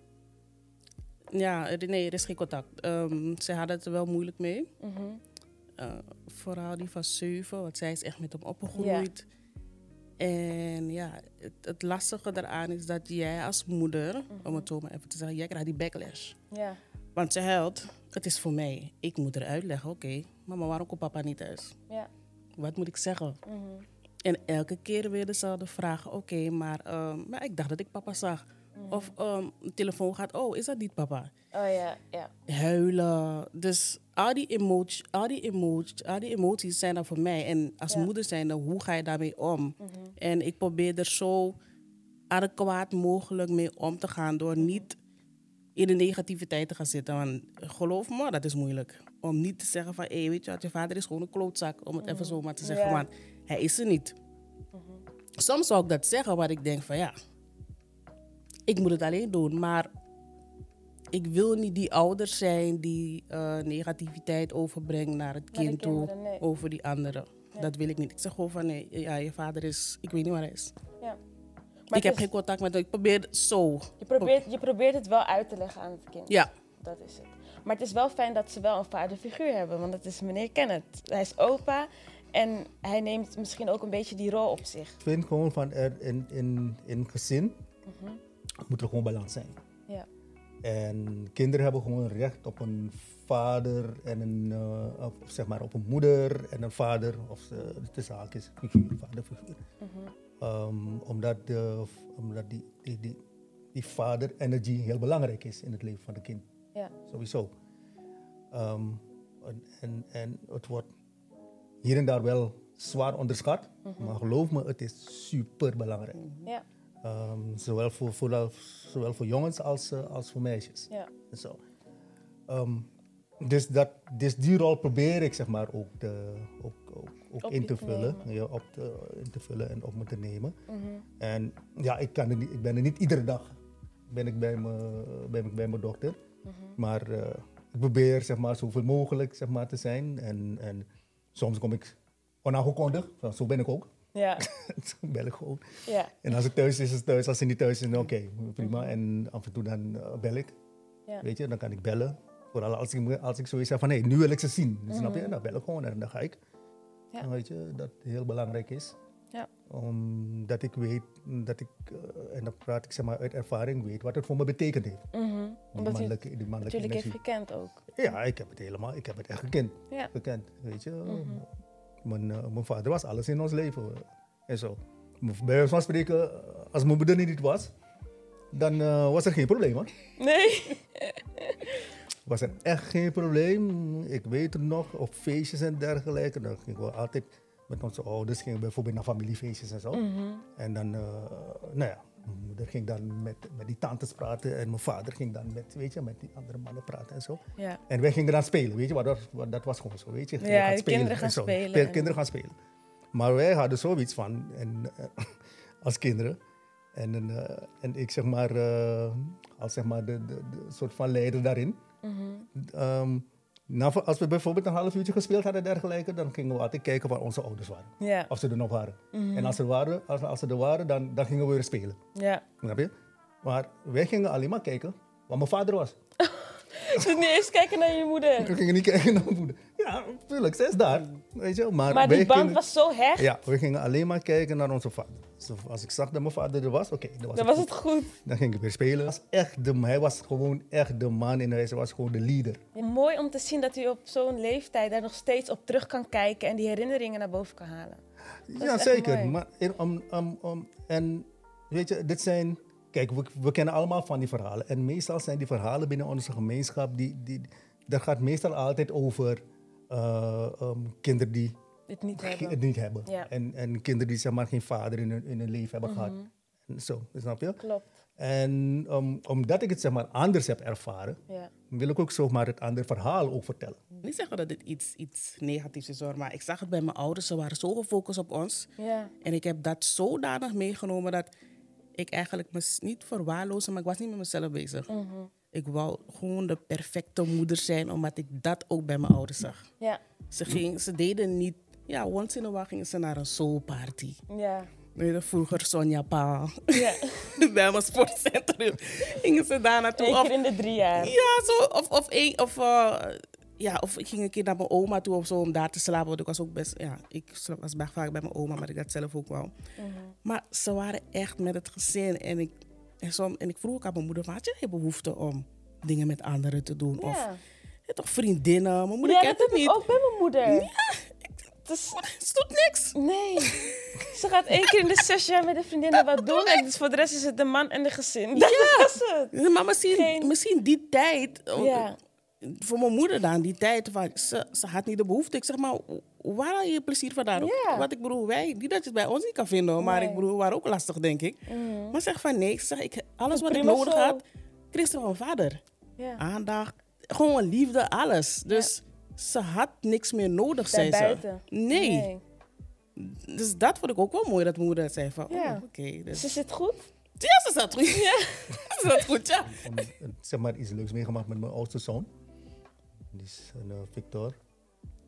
[SPEAKER 3] ja, er- nee, er is geen contact. Ehm, ze hadden het er wel moeilijk mee.
[SPEAKER 1] Mhm.
[SPEAKER 3] eh, vooral die van zeven, want zij is echt met hem opgegroeid. Ja. En ja, het, het lastige daaraan is dat jij als moeder, om het zo maar even te zeggen, jij krijgt die backlash.
[SPEAKER 1] Ja.
[SPEAKER 3] Want ze huilt, het is voor mij. Ik moet er uitleggen, oké, mama, waarom komt papa niet thuis?
[SPEAKER 1] Ja.
[SPEAKER 3] Wat moet ik zeggen? En elke keer weer dezelfde vraag. Oké, maar, ehm, maar ik dacht dat ik papa zag. Of ehm de telefoon gaat, oh, is dat niet papa?
[SPEAKER 1] Oh ja, ja.
[SPEAKER 3] Huilen. Dus al die, emoties, al, die emoties, al die emoties zijn er voor mij. En als
[SPEAKER 1] Ja. Mhm.
[SPEAKER 3] moeder zijnde, hoe ga je daarmee om? En ik probeer er zo adequaat mogelijk mee om te gaan... door niet in de negativiteit te gaan zitten. Want geloof me, dat is moeilijk. Om niet te zeggen van, hé, weet je wat, je vader is gewoon een klootzak. Om het even zo maar te zeggen,
[SPEAKER 1] Mhm. Ja. Mhm.
[SPEAKER 3] want hij is er niet. Soms zou ik dat zeggen, waar ik denk van, ja... Ik moet het alleen doen, maar ik wil niet die ouders zijn die eh, negativiteit overbrengt naar het
[SPEAKER 1] Naar de
[SPEAKER 3] kind toe,
[SPEAKER 1] kinderen, nee.
[SPEAKER 3] over die anderen. Dat wil ik niet. Ik zeg gewoon van nee, ja, je vader is, ik weet niet waar hij is.
[SPEAKER 1] ja.
[SPEAKER 3] ik heb
[SPEAKER 1] het is-
[SPEAKER 3] geen contact met hem. Ik probeer zo.
[SPEAKER 1] je, probeert, je probeert het wel uit te leggen aan het kind.
[SPEAKER 3] Ja,
[SPEAKER 1] Dat is het. Maar het is wel fijn dat ze wel een vaderfiguur hebben, want dat is meneer Kenneth. Hij is opa en hij neemt misschien ook een beetje die rol op zich.
[SPEAKER 2] Ik vind gewoon van er in, in, in gezin moet er gewoon balans zijn.
[SPEAKER 1] Ja,
[SPEAKER 2] En kinderen hebben gewoon recht op een vader en een, eh, op, zeg maar op een moeder en een vader, of ze, de zaak is figuur, vaderfiguur. Ehm, omdat de, omdat die, die, die, die vader-energy heel belangrijk is in het leven van een kind,
[SPEAKER 1] ja,
[SPEAKER 2] sowieso. Ehm, en, en, en het wordt hier en daar wel zwaar onderschat, maar geloof me, het is super belangrijk.
[SPEAKER 1] ja,
[SPEAKER 2] Ehm, zowel, voor, voor, zowel voor jongens als, eh, als voor meisjes.
[SPEAKER 1] ja.
[SPEAKER 2] En zo. Ehm, dus, dat, dus die rol probeer ik zeg maar ook, te- ook, ook, ook
[SPEAKER 1] Op je
[SPEAKER 2] in te
[SPEAKER 1] te
[SPEAKER 2] vullen.
[SPEAKER 1] nemen.
[SPEAKER 2] Ja, op te, in te vullen en op me te nemen.
[SPEAKER 1] Mhm.
[SPEAKER 2] En ja, ik, kan er niet, ik ben er niet iedere dag ben ik bij, me, ben ik bij mijn dochter.
[SPEAKER 1] Mhm.
[SPEAKER 2] Maar eh, ik probeer zeg maar, zoveel mogelijk zeg maar, te zijn. En, en soms kom ik onaangekondigd, van, zo ben ik ook.
[SPEAKER 1] Ja,
[SPEAKER 2] zo ben ik ook.
[SPEAKER 1] ja,
[SPEAKER 2] En als het thuis is, is het thuis. Als ze niet thuis is, dan oké, prima.
[SPEAKER 1] Mhm.
[SPEAKER 2] En af en toe dan eh, bel ik.
[SPEAKER 1] ja.
[SPEAKER 2] Weet je, dan kan ik bellen. Vooral als ik, me- als ik zoiets heb van, hé, nu wil ik ze zien. Snap je? Dan bel ik gewoon en dan ga ik.
[SPEAKER 1] Mhm. Ja.
[SPEAKER 2] En weet je, dat heel belangrijk is.
[SPEAKER 1] Ja.
[SPEAKER 2] Omdat ik weet, dat ik, eh, en dan praat ik zeg maar uit ervaring, weet wat het voor me betekend heeft.
[SPEAKER 1] Mhm.
[SPEAKER 2] Die
[SPEAKER 1] Omdat u het
[SPEAKER 2] mannelijke, die mannelijke
[SPEAKER 1] natuurlijk heeft
[SPEAKER 2] energie.
[SPEAKER 1] gekend ook.
[SPEAKER 2] Ja, ik heb het helemaal, ik heb het echt gekend.
[SPEAKER 1] Ja,
[SPEAKER 2] Gekend, weet je.
[SPEAKER 1] Mhm.
[SPEAKER 2] mijn, eh, mijn vader was alles in ons leven. eh, En zo. Bij wijze van spreken, eh, als mijn moeder er niet was, dan eh, was er geen probleem, hoor
[SPEAKER 1] nee.
[SPEAKER 2] was er echt geen probleem. Ik weet het nog, op feestjes en dergelijke. Dan gingen we altijd met onze ouders, gingen we bijvoorbeeld naar familiefeestjes en zo. En dan, eh, nou ja, mijn moeder ging dan met, met die tantes praten. En mijn vader ging dan met, weet je, met die andere mannen praten en zo.
[SPEAKER 1] Ja,
[SPEAKER 2] En wij gingen dan spelen, weet je, maar dat, maar dat was gewoon zo, weet je.
[SPEAKER 1] Ja,
[SPEAKER 2] Gingen
[SPEAKER 1] de kinderen gaan
[SPEAKER 2] en zo.
[SPEAKER 1] spelen
[SPEAKER 2] De
[SPEAKER 1] en-
[SPEAKER 2] kinderen gaan spelen. Maar wij hadden zoiets van, en, eh, als kinderen. En, dan, eh, en ik zeg maar, eh, als zeg maar de, de, de soort van leider daarin.
[SPEAKER 1] Mhm.
[SPEAKER 2] Ehm, na- als we bijvoorbeeld een half uurtje gespeeld hadden en dergelijke, dan gingen we altijd kijken waar onze ouders waren.
[SPEAKER 1] ja, Mhm.
[SPEAKER 2] Of ze er nog waren. En als ze er waren, als, als ze er waren dan, dan gingen we weer spelen.
[SPEAKER 1] ja.
[SPEAKER 2] Snap je? Maar wij gingen alleen maar kijken waar mijn vader was.
[SPEAKER 1] Je moet niet eens kijken naar je moeder.
[SPEAKER 2] We gingen niet kijken naar mijn moeder. Ja, tuurlijk, zij is daar. Weet je, wel, maar,
[SPEAKER 1] Maar die
[SPEAKER 2] wij
[SPEAKER 1] band
[SPEAKER 2] gingen-
[SPEAKER 1] was zo hecht,
[SPEAKER 2] Ja, we gingen alleen maar kijken naar onze vader. Dus als ik zag dat mijn vader er was, oké, dan was
[SPEAKER 1] dan
[SPEAKER 2] het
[SPEAKER 1] was het goed.
[SPEAKER 2] Dan ging ik weer spelen. Hij was, echt de, hij was gewoon echt de man in huis. Hij was gewoon de leader.
[SPEAKER 1] Mooi om te zien dat u op zo'n leeftijd daar nog steeds op terug kan kijken en die herinneringen naar boven kan halen.
[SPEAKER 2] ja,
[SPEAKER 1] echt
[SPEAKER 2] zeker.
[SPEAKER 1] mooi.
[SPEAKER 2] Maar, in- om, om, om, en weet je, dit zijn... Kijk, we, we kennen allemaal van die verhalen. En meestal zijn die verhalen binnen onze gemeenschap... Die, die, dat gaat meestal altijd over eh, ehm, kinderen die
[SPEAKER 1] Dit niet
[SPEAKER 2] ge-
[SPEAKER 1] hebben.
[SPEAKER 2] het niet hebben.
[SPEAKER 1] Ja. Mhm.
[SPEAKER 2] En, en kinderen die zeg maar, geen vader in hun, in hun leven hebben gehad. En zo, snap je?
[SPEAKER 1] Klopt.
[SPEAKER 2] En ehm, omdat ik het zeg maar, anders heb ervaren...
[SPEAKER 1] Ja.
[SPEAKER 2] wil ik ook zomaar het andere verhaal ook vertellen.
[SPEAKER 3] niet zeggen dat dit iets, iets negatiefs is hoor, maar ik zag het bij mijn ouders. Ze waren zo gefocust op ons.
[SPEAKER 1] Ja.
[SPEAKER 3] En ik heb dat zodanig meegenomen dat ik eigenlijk me s- niet verwaarloosde, maar ik was niet met mezelf bezig.
[SPEAKER 1] Mhm.
[SPEAKER 3] Ik wou gewoon de perfecte moeder zijn, omdat ik dat ook bij mijn ouders zag.
[SPEAKER 1] Ja.
[SPEAKER 3] Ze, ging, ze deden niet. Ja, once in a while gingen ze naar een soulparty.
[SPEAKER 1] Ja.
[SPEAKER 3] Weet je, Vroeger Sonja Paal.
[SPEAKER 1] Ja.
[SPEAKER 3] Bij mijn sportcentrum. Gingen ze daar naartoe.
[SPEAKER 1] Twee
[SPEAKER 3] Of,
[SPEAKER 1] keer in de drie jaar.
[SPEAKER 3] ja, zo. Of, of, één- of eh, ja, of ik ging een keer naar mijn oma toe of zo om daar te slapen. Want ik was ook best, ja, ik sla- was best vaak bij mijn oma, maar ik had zelf ook wel.
[SPEAKER 1] Mhm.
[SPEAKER 3] Maar ze waren echt met het gezin. En ik, en, som, en ik vroeg ook aan mijn moeder, van, had jij behoefte om dingen met anderen te doen? Of
[SPEAKER 1] Ja.
[SPEAKER 3] ja, toch vriendinnen? Mijn moeder
[SPEAKER 1] Ja,
[SPEAKER 3] kent
[SPEAKER 1] dat
[SPEAKER 3] het
[SPEAKER 1] heb
[SPEAKER 3] niet.
[SPEAKER 1] ik ook bij mijn moeder.
[SPEAKER 3] Het is- het doet niks.
[SPEAKER 1] Nee. Ze gaat één keer in de zes jaar met de vriendinnen wat doen. En dus voor de rest is het de man en de gezin. Dat was het.
[SPEAKER 3] Maar misschien,
[SPEAKER 1] Geen-
[SPEAKER 3] misschien die tijd, oh,
[SPEAKER 1] Ja.
[SPEAKER 3] voor mijn moeder dan, die tijd, van, ze, ze had niet de behoefte. Ik zeg maar, waar haal je je plezier vandaan?
[SPEAKER 1] Ja.
[SPEAKER 3] Wat ik bedoel, wij, niet dat je het bij ons niet kan vinden, maar
[SPEAKER 1] Nee. Mhm.
[SPEAKER 3] ik bedoel, we waren ook lastig, denk ik. Maar zeg van nee, ik zeg, ik, alles wat ik
[SPEAKER 1] Prima
[SPEAKER 3] nodig
[SPEAKER 1] zo.
[SPEAKER 3] had, kreeg ze van vader.
[SPEAKER 1] Ja.
[SPEAKER 3] Aandacht, gewoon liefde, alles. Dus ze had niks meer nodig, zei
[SPEAKER 1] Daarbuiten.
[SPEAKER 3] ze. Nee. Dus dat vond ik ook wel mooi, dat mijn moeder zei van,
[SPEAKER 1] Ja.
[SPEAKER 3] oh, oké. dus.
[SPEAKER 1] Ze zit goed.
[SPEAKER 3] Ja, ze zat goed. Ja. ze zat goed, ja.
[SPEAKER 2] om, eh, zeg maar, iets leuks meegemaakt met mijn oudste zoon. Die is een, eh, Victor.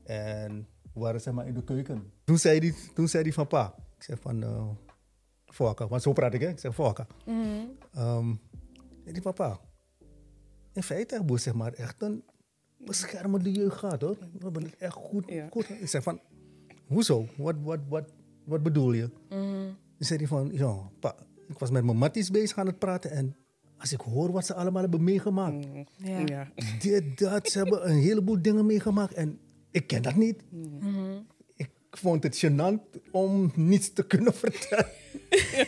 [SPEAKER 2] En we waren zeg maar in de keuken. Toen zei hij toen zei die van pa. Ik zeg van, eh Fouaka. Want zo praat ik hè. Ik zeg Fouaka.
[SPEAKER 1] Mhm.
[SPEAKER 2] Ehm, en die papa. In feite hebben we zeg maar echt een beschermende jeugd gehad hoor. We hebben het echt goed,
[SPEAKER 3] Ja.
[SPEAKER 2] goed. Ik zeg van, hoezo? Wat, wat, wat, wat bedoel je? Toen zei hij van, ja, pa, ik was met mijn matties bezig aan het praten en als ik hoor wat ze allemaal hebben meegemaakt.
[SPEAKER 1] Ja.
[SPEAKER 3] Ja.
[SPEAKER 2] Dit, dat, ze hebben een heleboel dingen meegemaakt en ik ken dat niet. Ik vond het gênant om niets te kunnen vertellen.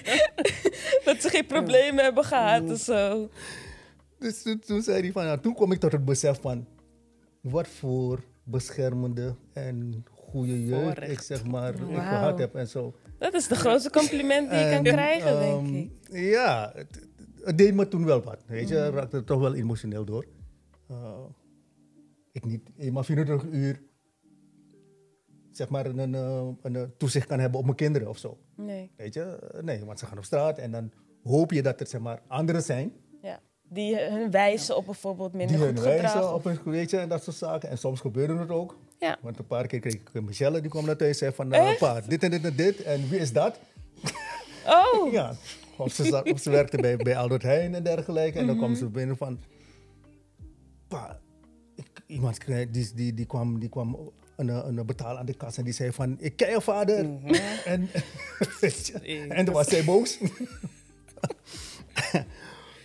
[SPEAKER 1] Dat ze geen problemen hebben gehad of zo.
[SPEAKER 2] Dus toen, toen zei hij van, ja, toen kwam ik tot het besef van, wat voor beschermende en goede jeugd ik
[SPEAKER 3] Voorrecht.
[SPEAKER 2] zeg maar ik
[SPEAKER 1] Wauw.
[SPEAKER 2] gehad heb en zo.
[SPEAKER 1] Dat is de grootste compliment Eh, die je kan
[SPEAKER 2] En,
[SPEAKER 1] krijgen, denk
[SPEAKER 2] ehm,
[SPEAKER 1] ik. Mm.
[SPEAKER 2] Ja, het, het- het deed me toen wel wat. Weet je, raakte er toch wel emotioneel door. Eh, ik niet eenmaal 24 uur zeg maar een, een, eh, een, eh, toezicht kan hebben op mijn kinderen of zo.
[SPEAKER 1] Nee.
[SPEAKER 2] Weet je, Eh, nee, want ze gaan op straat en dan hoop je dat er zeg maar anderen zijn
[SPEAKER 1] Ja. Die hun wijzen op bijvoorbeeld minder
[SPEAKER 2] die
[SPEAKER 1] goed
[SPEAKER 2] hun wijzen
[SPEAKER 1] gedrag.
[SPEAKER 2] op hun weet je, en dat soort zaken. En soms gebeurde het ook.
[SPEAKER 1] Ja.
[SPEAKER 2] Want een paar keer kreeg ik een Michelle, die kwam naar thuis en zei van... eh, pa, dit en dit en dit. En wie is dat?
[SPEAKER 1] Oh,
[SPEAKER 2] Ja. Of ze, zat, of ze werkte bij, bij Albert Heijn en dergelijke. En dan kwam
[SPEAKER 1] Mhm.
[SPEAKER 2] ze binnen van... Pa, ik- iemand kreeg- die, die, die kwam, die kwam een, eh, een betaal aan de kas en die zei van... Ik ken je vader.
[SPEAKER 1] Mhm.
[SPEAKER 2] En, weet je, en toen was zij boos.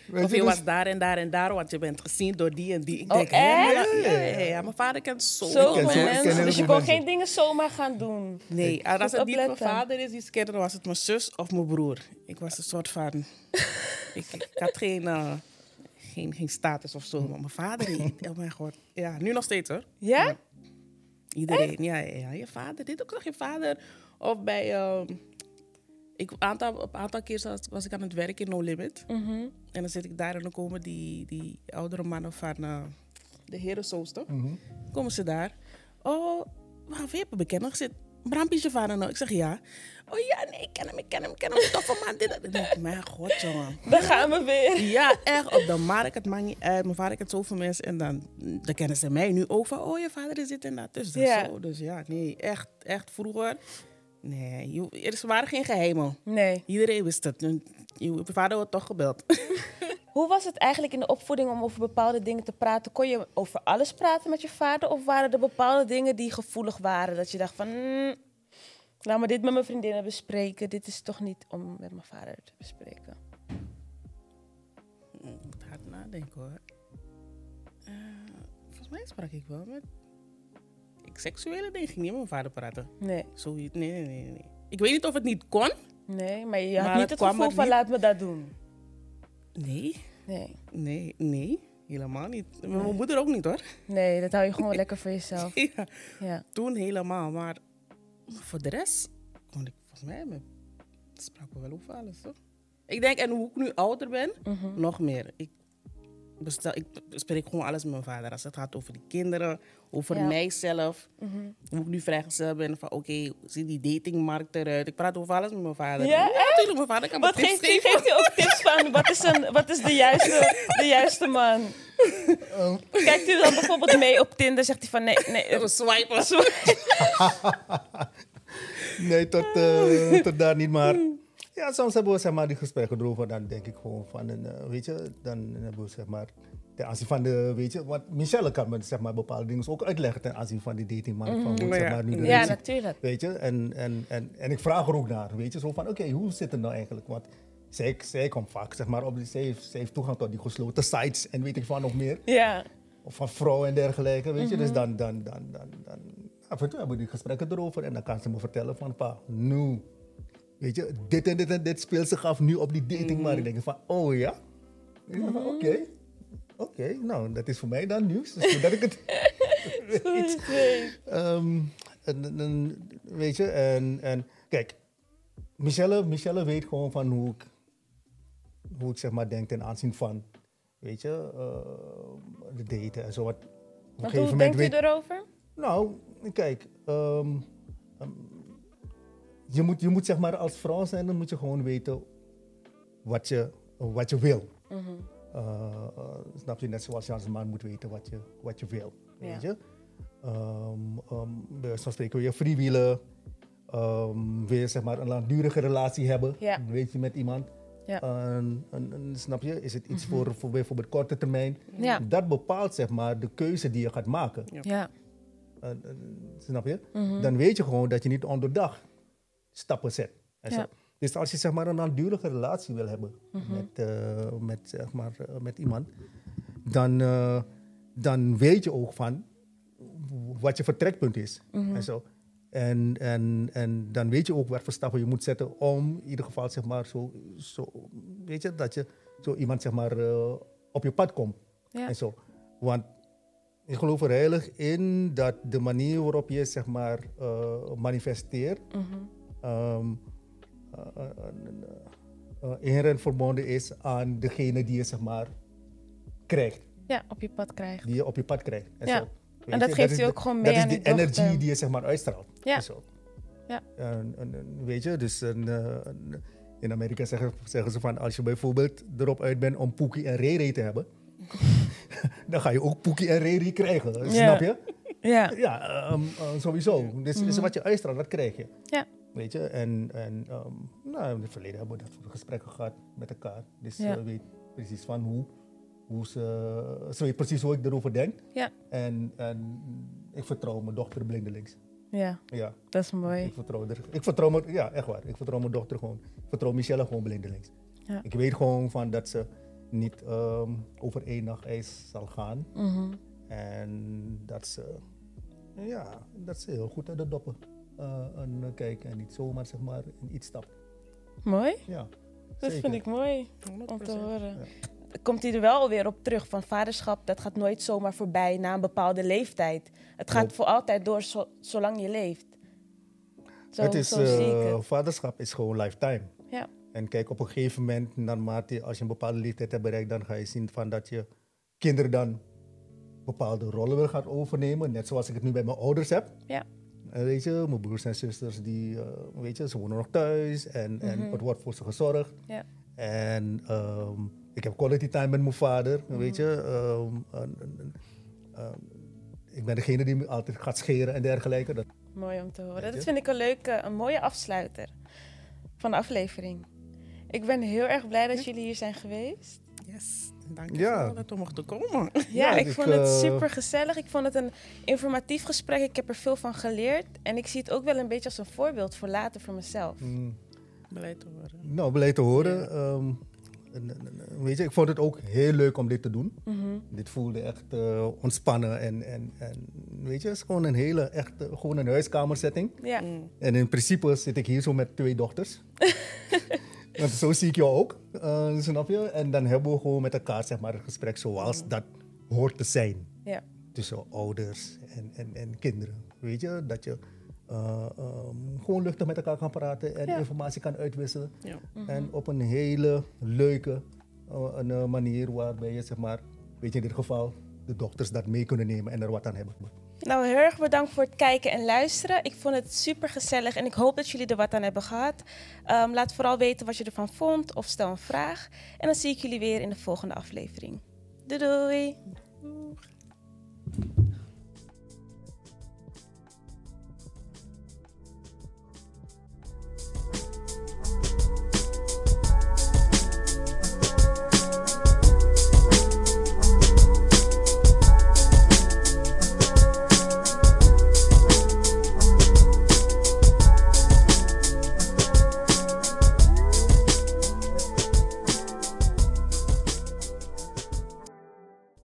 [SPEAKER 2] Weet
[SPEAKER 3] Of je
[SPEAKER 2] dus-
[SPEAKER 3] was daar en daar en daar, want je bent gezien door die en die. Ik
[SPEAKER 1] Oh,
[SPEAKER 3] denk, hè,
[SPEAKER 1] echt?
[SPEAKER 3] Ja, ja, ja, ja. Mijn vader kent zoveel
[SPEAKER 1] zoveel
[SPEAKER 2] ken- ik ken
[SPEAKER 3] mensen.
[SPEAKER 2] heel veel
[SPEAKER 1] mensen. Dus je kon
[SPEAKER 2] mensen.
[SPEAKER 1] geen dingen zomaar gaan doen.
[SPEAKER 3] Nee, en als
[SPEAKER 1] Goed
[SPEAKER 3] het niet mijn
[SPEAKER 1] opletten.
[SPEAKER 3] vader is die ze kende, dan was het mijn zus of mijn broer. Ik was een soort van... ik, ik had geen, eh, geen, geen status of zo, maar mijn vader niet. Oh mijn god. Ja, nu nog steeds hoor.
[SPEAKER 1] Ja?
[SPEAKER 3] Iedereen, ja, ja, ja. Je vader, dit ook nog je vader. Of bij... ehm, ik, aantal, op een aantal keer zat- was ik aan het werk in No Limit. En dan zit ik daar en dan komen die, die oudere mannen van eh, de herenzoonster. Komen ze daar. Oh, maar je hebt een bekende gezet. Brampie is je vader nou? Ik zeg ja. Oh ja, nee, ik ken hem, ik ken hem, ik ken hem. Toffe man, dit, dat. Ik denk, mijn god, jongen.
[SPEAKER 1] Daar gaan we weer.
[SPEAKER 3] Ja, echt, op de markt, het maakt niet uit. Mijn vader kent zoveel mensen en dan, mm, dan kennen ze mij nu ook van... Oh, je vader is dit en dat. Dus dat
[SPEAKER 1] Ja.
[SPEAKER 3] zo. Dus ja, nee, echt, echt vroeger... Nee, je- er waren geen geheimen.
[SPEAKER 1] Nee.
[SPEAKER 3] Iedereen wist het. Je, je vader wordt toch gebeld.
[SPEAKER 1] Hoe was het eigenlijk in de opvoeding om over bepaalde dingen te praten? Kon je over alles praten met je vader? Of waren er bepaalde dingen die gevoelig waren? Dat je dacht van, "Mm, laat maar dit met mijn vriendinnen bespreken. Dit is toch niet om met mijn vader te bespreken.
[SPEAKER 3] Ik moet hard nadenken hoor. Eh, volgens mij sprak ik wel met. Ik seksuele dingen ging niet met mijn vader praten.
[SPEAKER 1] Nee,
[SPEAKER 3] Zoiets. Nee, nee, nee, nee. Ik weet niet of het niet kon.
[SPEAKER 1] nee maar je had
[SPEAKER 3] Maar
[SPEAKER 1] niet
[SPEAKER 3] het
[SPEAKER 1] het
[SPEAKER 3] kwam
[SPEAKER 1] gevoel
[SPEAKER 3] er
[SPEAKER 1] van,
[SPEAKER 3] niet-
[SPEAKER 1] laat me dat doen.
[SPEAKER 3] Nee,
[SPEAKER 1] Nee,
[SPEAKER 3] nee, nee. Helemaal niet. Maar Mijn moeder ook niet hoor.
[SPEAKER 1] nee dat hou je gewoon lekker voor jezelf.
[SPEAKER 3] Ja,
[SPEAKER 1] Ja.
[SPEAKER 3] toen helemaal. Maar voor de rest kon ik volgens mij. Met... sprak we wel over alles hoor. Ik denk, en hoe ik nu ouder ben,
[SPEAKER 1] Mhm.
[SPEAKER 3] nog meer. Ik, bestel, ik spreek gewoon alles met mijn vader. Als het gaat over de kinderen, over
[SPEAKER 1] Ja. Mhm.
[SPEAKER 3] mijzelf. Hoe ik nu vrijgezel ben van oké, hoe ziet die datingmarkt eruit? Ik praat over alles met mijn vader.
[SPEAKER 1] Ja, echt?
[SPEAKER 3] natuurlijk, mijn vader kan me
[SPEAKER 1] Wat
[SPEAKER 3] tips
[SPEAKER 1] geeft,
[SPEAKER 3] geven.
[SPEAKER 1] geeft hij ook tips van? Wat is, een, wat is de, juiste, de juiste man? Oh. Kijkt u dan bijvoorbeeld mee op Tinder? Zegt hij van nee, nee.
[SPEAKER 3] We swipen.
[SPEAKER 2] Nee, tot, eh, tot daar niet, maar... Ja, soms hebben we zeg maar, die gesprekken erover. Dan denk ik gewoon van, eh, weet je, dan hebben we zeg maar... ten aanzien van de, weet je, want Michelle kan me zeg maar, bepaalde dingen ook uitleggen ten aanzien van die datingmarkt. van,
[SPEAKER 3] Maar
[SPEAKER 2] zeg
[SPEAKER 3] ja,
[SPEAKER 2] maar, nu de
[SPEAKER 1] Mm-hmm. Ja,
[SPEAKER 2] reden-
[SPEAKER 1] natuurlijk.
[SPEAKER 2] Weet je, en, en, en, en ik vraag er ook naar, weet je, zo van, oké, hoe zit het nou eigenlijk? Want zij, zij komt vaak, zeg maar, op die, zij, heeft, zij heeft toegang tot die gesloten sites en weet ik van nog meer.
[SPEAKER 1] Ja.
[SPEAKER 2] Of van vrouwen en dergelijke, weet je. Dus dan, dan, dan, dan, dan, af en toe hebben we die gesprekken erover en dan kan ze me vertellen van, pa, nu, weet je, dit en dit en dit speelt zich af nu op die dating, maar ik denk van, oh ja, Ik
[SPEAKER 1] Mm.
[SPEAKER 2] denk van, oké. Oké, nou, dat is voor mij dan nieuws. Dus voordat ik het weet. Ehm, en- en- en, weet je, en, en kijk, Michelle, Michelle weet gewoon van hoe ik, hoe ik zeg maar denk ten aanzien van, weet je, eh, de daten en zo wat. Op een
[SPEAKER 1] Want hoe denkt u erover?
[SPEAKER 2] nou, kijk, ehm, ehm, je, moet, je moet zeg maar als vrouw zijn, dan moet je gewoon weten wat je, wat je wil.
[SPEAKER 1] Mhm.
[SPEAKER 2] Eh, eh, snap je? Net zoals je als man moet weten wat je, wat je wil. Weet
[SPEAKER 1] Ja.
[SPEAKER 2] je? Ehm ehm, bij wijze van spreken wil je freewheelen. ehm wil je zeg maar een langdurige relatie hebben,
[SPEAKER 1] Ja.
[SPEAKER 2] weet je, met iemand.
[SPEAKER 1] Ja. Mhm.
[SPEAKER 2] En- en- en snap je? Is het iets voor, voor bijvoorbeeld korte termijn?
[SPEAKER 1] Ja.
[SPEAKER 2] Dat bepaalt zeg maar de keuze die je gaat maken.
[SPEAKER 1] Ja.
[SPEAKER 2] Eh, eh, snap je? Dan weet je gewoon dat je niet onderdag stappen zet. En zo.
[SPEAKER 1] Ja.
[SPEAKER 2] Dus als je zeg maar een langdurige relatie wil hebben met, eh, met, zeg maar, eh, met iemand, dan, eh, dan weet je ook van wat je vertrekpunt is. En, zo. En, en, en dan weet je ook wat voor stappen je moet zetten om in ieder geval zeg maar zo, zo weet je, dat je zo iemand zeg maar eh, op je pad komt.
[SPEAKER 1] Ja.
[SPEAKER 2] En zo. Want ik geloof er heilig in dat de manier waarop je zeg maar eh, manifesteert ehm, eh, eh, eh, eh, inherent verbonden is aan degene die je zeg maar krijgt,
[SPEAKER 1] ja, op je pad krijgt.
[SPEAKER 2] die je op je pad krijgt. En,
[SPEAKER 1] Ja.
[SPEAKER 2] zo. Weet
[SPEAKER 1] En dat
[SPEAKER 2] je,
[SPEAKER 1] geeft
[SPEAKER 2] is
[SPEAKER 1] u
[SPEAKER 2] de-
[SPEAKER 1] ook gewoon mee
[SPEAKER 2] Dat is
[SPEAKER 1] aan
[SPEAKER 2] de
[SPEAKER 1] uw dochter.
[SPEAKER 2] energie die je zeg maar uitstraalt.
[SPEAKER 1] Ja.
[SPEAKER 2] En zo.
[SPEAKER 1] Ja.
[SPEAKER 2] En, en- en weet je, dus een, eh, een- in Amerika zeggen, zeggen ze van als je bijvoorbeeld erop uit bent om Poekie en Rere te hebben, dan ga je ook Poekie en Rere krijgen. Snap je?
[SPEAKER 1] Ja.
[SPEAKER 2] Ja, ehm, eh, sowieso. Dus,
[SPEAKER 1] Mhm.
[SPEAKER 2] dus wat je uitstraalt, dat krijg je.
[SPEAKER 1] Ja.
[SPEAKER 2] Weet je, en, en ehm, nou, in het verleden hebben we dat soort gesprekken gehad met elkaar. Dus ze
[SPEAKER 1] Ja.
[SPEAKER 2] weet precies van hoe, hoe ze, ze weet precies hoe ik erover denk.
[SPEAKER 1] Ja.
[SPEAKER 2] En, en ik vertrouw mijn dochter blindelings.
[SPEAKER 1] Ja,
[SPEAKER 2] Ja,
[SPEAKER 1] dat is mooi.
[SPEAKER 2] ik vertrouw haar. Ik vertrouw mijn, ja, echt waar. Ik vertrouw mijn dochter gewoon. Ik vertrouw Michelle gewoon blindelings.
[SPEAKER 1] Ja.
[SPEAKER 2] Ik weet gewoon van dat ze niet ehm, over één nacht ijs zal gaan.
[SPEAKER 1] Mhm.
[SPEAKER 2] En dat ze, ja, dat ze heel goed uit de doppen eh, en, eh, kijken en niet zomaar zeg maar in iets stapt.
[SPEAKER 1] Mooi?
[SPEAKER 2] Ja,
[SPEAKER 1] Dat
[SPEAKER 2] zeker.
[SPEAKER 1] vind ik mooi
[SPEAKER 3] 100%.
[SPEAKER 1] om te horen. Komt hij er wel weer op terug van vaderschap, dat gaat nooit zomaar voorbij na een bepaalde leeftijd. Het gaat
[SPEAKER 2] Klopt.
[SPEAKER 1] voor altijd door zo- zolang je leeft. Zo,
[SPEAKER 2] het is,
[SPEAKER 1] zo zie ik
[SPEAKER 2] eh,
[SPEAKER 1] het.
[SPEAKER 2] vaderschap is gewoon lifetime.
[SPEAKER 1] Ja.
[SPEAKER 2] En kijk, op een gegeven moment, naarmate je- als je een bepaalde leeftijd hebt bereikt, dan ga je zien van dat je kinderen dan bepaalde rollen weer gaat overnemen. Net zoals ik het nu bij mijn ouders heb.
[SPEAKER 1] Ja.
[SPEAKER 2] Eh, weet je, mijn broers en zusters, die, eh, weet je, ze wonen nog thuis en, en het wordt voor ze gezorgd.
[SPEAKER 1] Ja.
[SPEAKER 2] En ehm, ik heb quality time met mijn vader, weet je. ehm, en- en- en, ehm, ik ben degene die me altijd gaat scheren en dergelijke. Dat-
[SPEAKER 1] Mooi om te horen.
[SPEAKER 2] Dank je.
[SPEAKER 1] Dat vind ik een leuke, een mooie afsluiter van de aflevering. Ik ben heel erg blij dat jullie hier zijn geweest.
[SPEAKER 3] Yes, dank je
[SPEAKER 2] Ja.
[SPEAKER 3] wel dat we mochten komen.
[SPEAKER 1] Ja, ik
[SPEAKER 2] dus,
[SPEAKER 1] vond het
[SPEAKER 2] eh,
[SPEAKER 1] super gezellig. Ik vond het een informatief gesprek. Ik heb er veel van geleerd. En ik zie het ook wel een beetje als een voorbeeld voor later voor mezelf.
[SPEAKER 2] Mm.
[SPEAKER 3] Blij te horen.
[SPEAKER 2] Nou, blij te horen. Ehm, en- en- en- weet je, ik vond het ook heel leuk om dit te doen. Dit voelde echt eh, ontspannen en, en, en weet je, het is gewoon een hele, echt eh, gewoon een huiskamersetting.
[SPEAKER 1] Ja,
[SPEAKER 2] En in principe zit ik hier zo met twee dochters. Want zo zie ik jou ook, eh, snap je? En dan hebben we gewoon met elkaar zeg maar, een gesprek zoals dat hoort te zijn.
[SPEAKER 1] ja,
[SPEAKER 2] Tussen ouders en, en, en kinderen. Weet je, dat je eh, ehm, gewoon luchtig met elkaar kan praten en
[SPEAKER 1] Ja.
[SPEAKER 2] informatie kan uitwisselen.
[SPEAKER 3] Ja.
[SPEAKER 2] En op een hele leuke eh, een, eh, manier waarbij je, zeg maar, weet je, in dit geval de dochters dat mee kunnen nemen en er wat aan hebben.
[SPEAKER 1] Nou, heel erg bedankt voor het kijken en luisteren. Ik vond het super gezellig en ik hoop dat jullie er wat aan hebben gehad. Ehm, laat vooral weten wat je ervan vond of stel een vraag. En dan zie ik jullie weer in de volgende aflevering. Doei doei!
[SPEAKER 3] Doeg.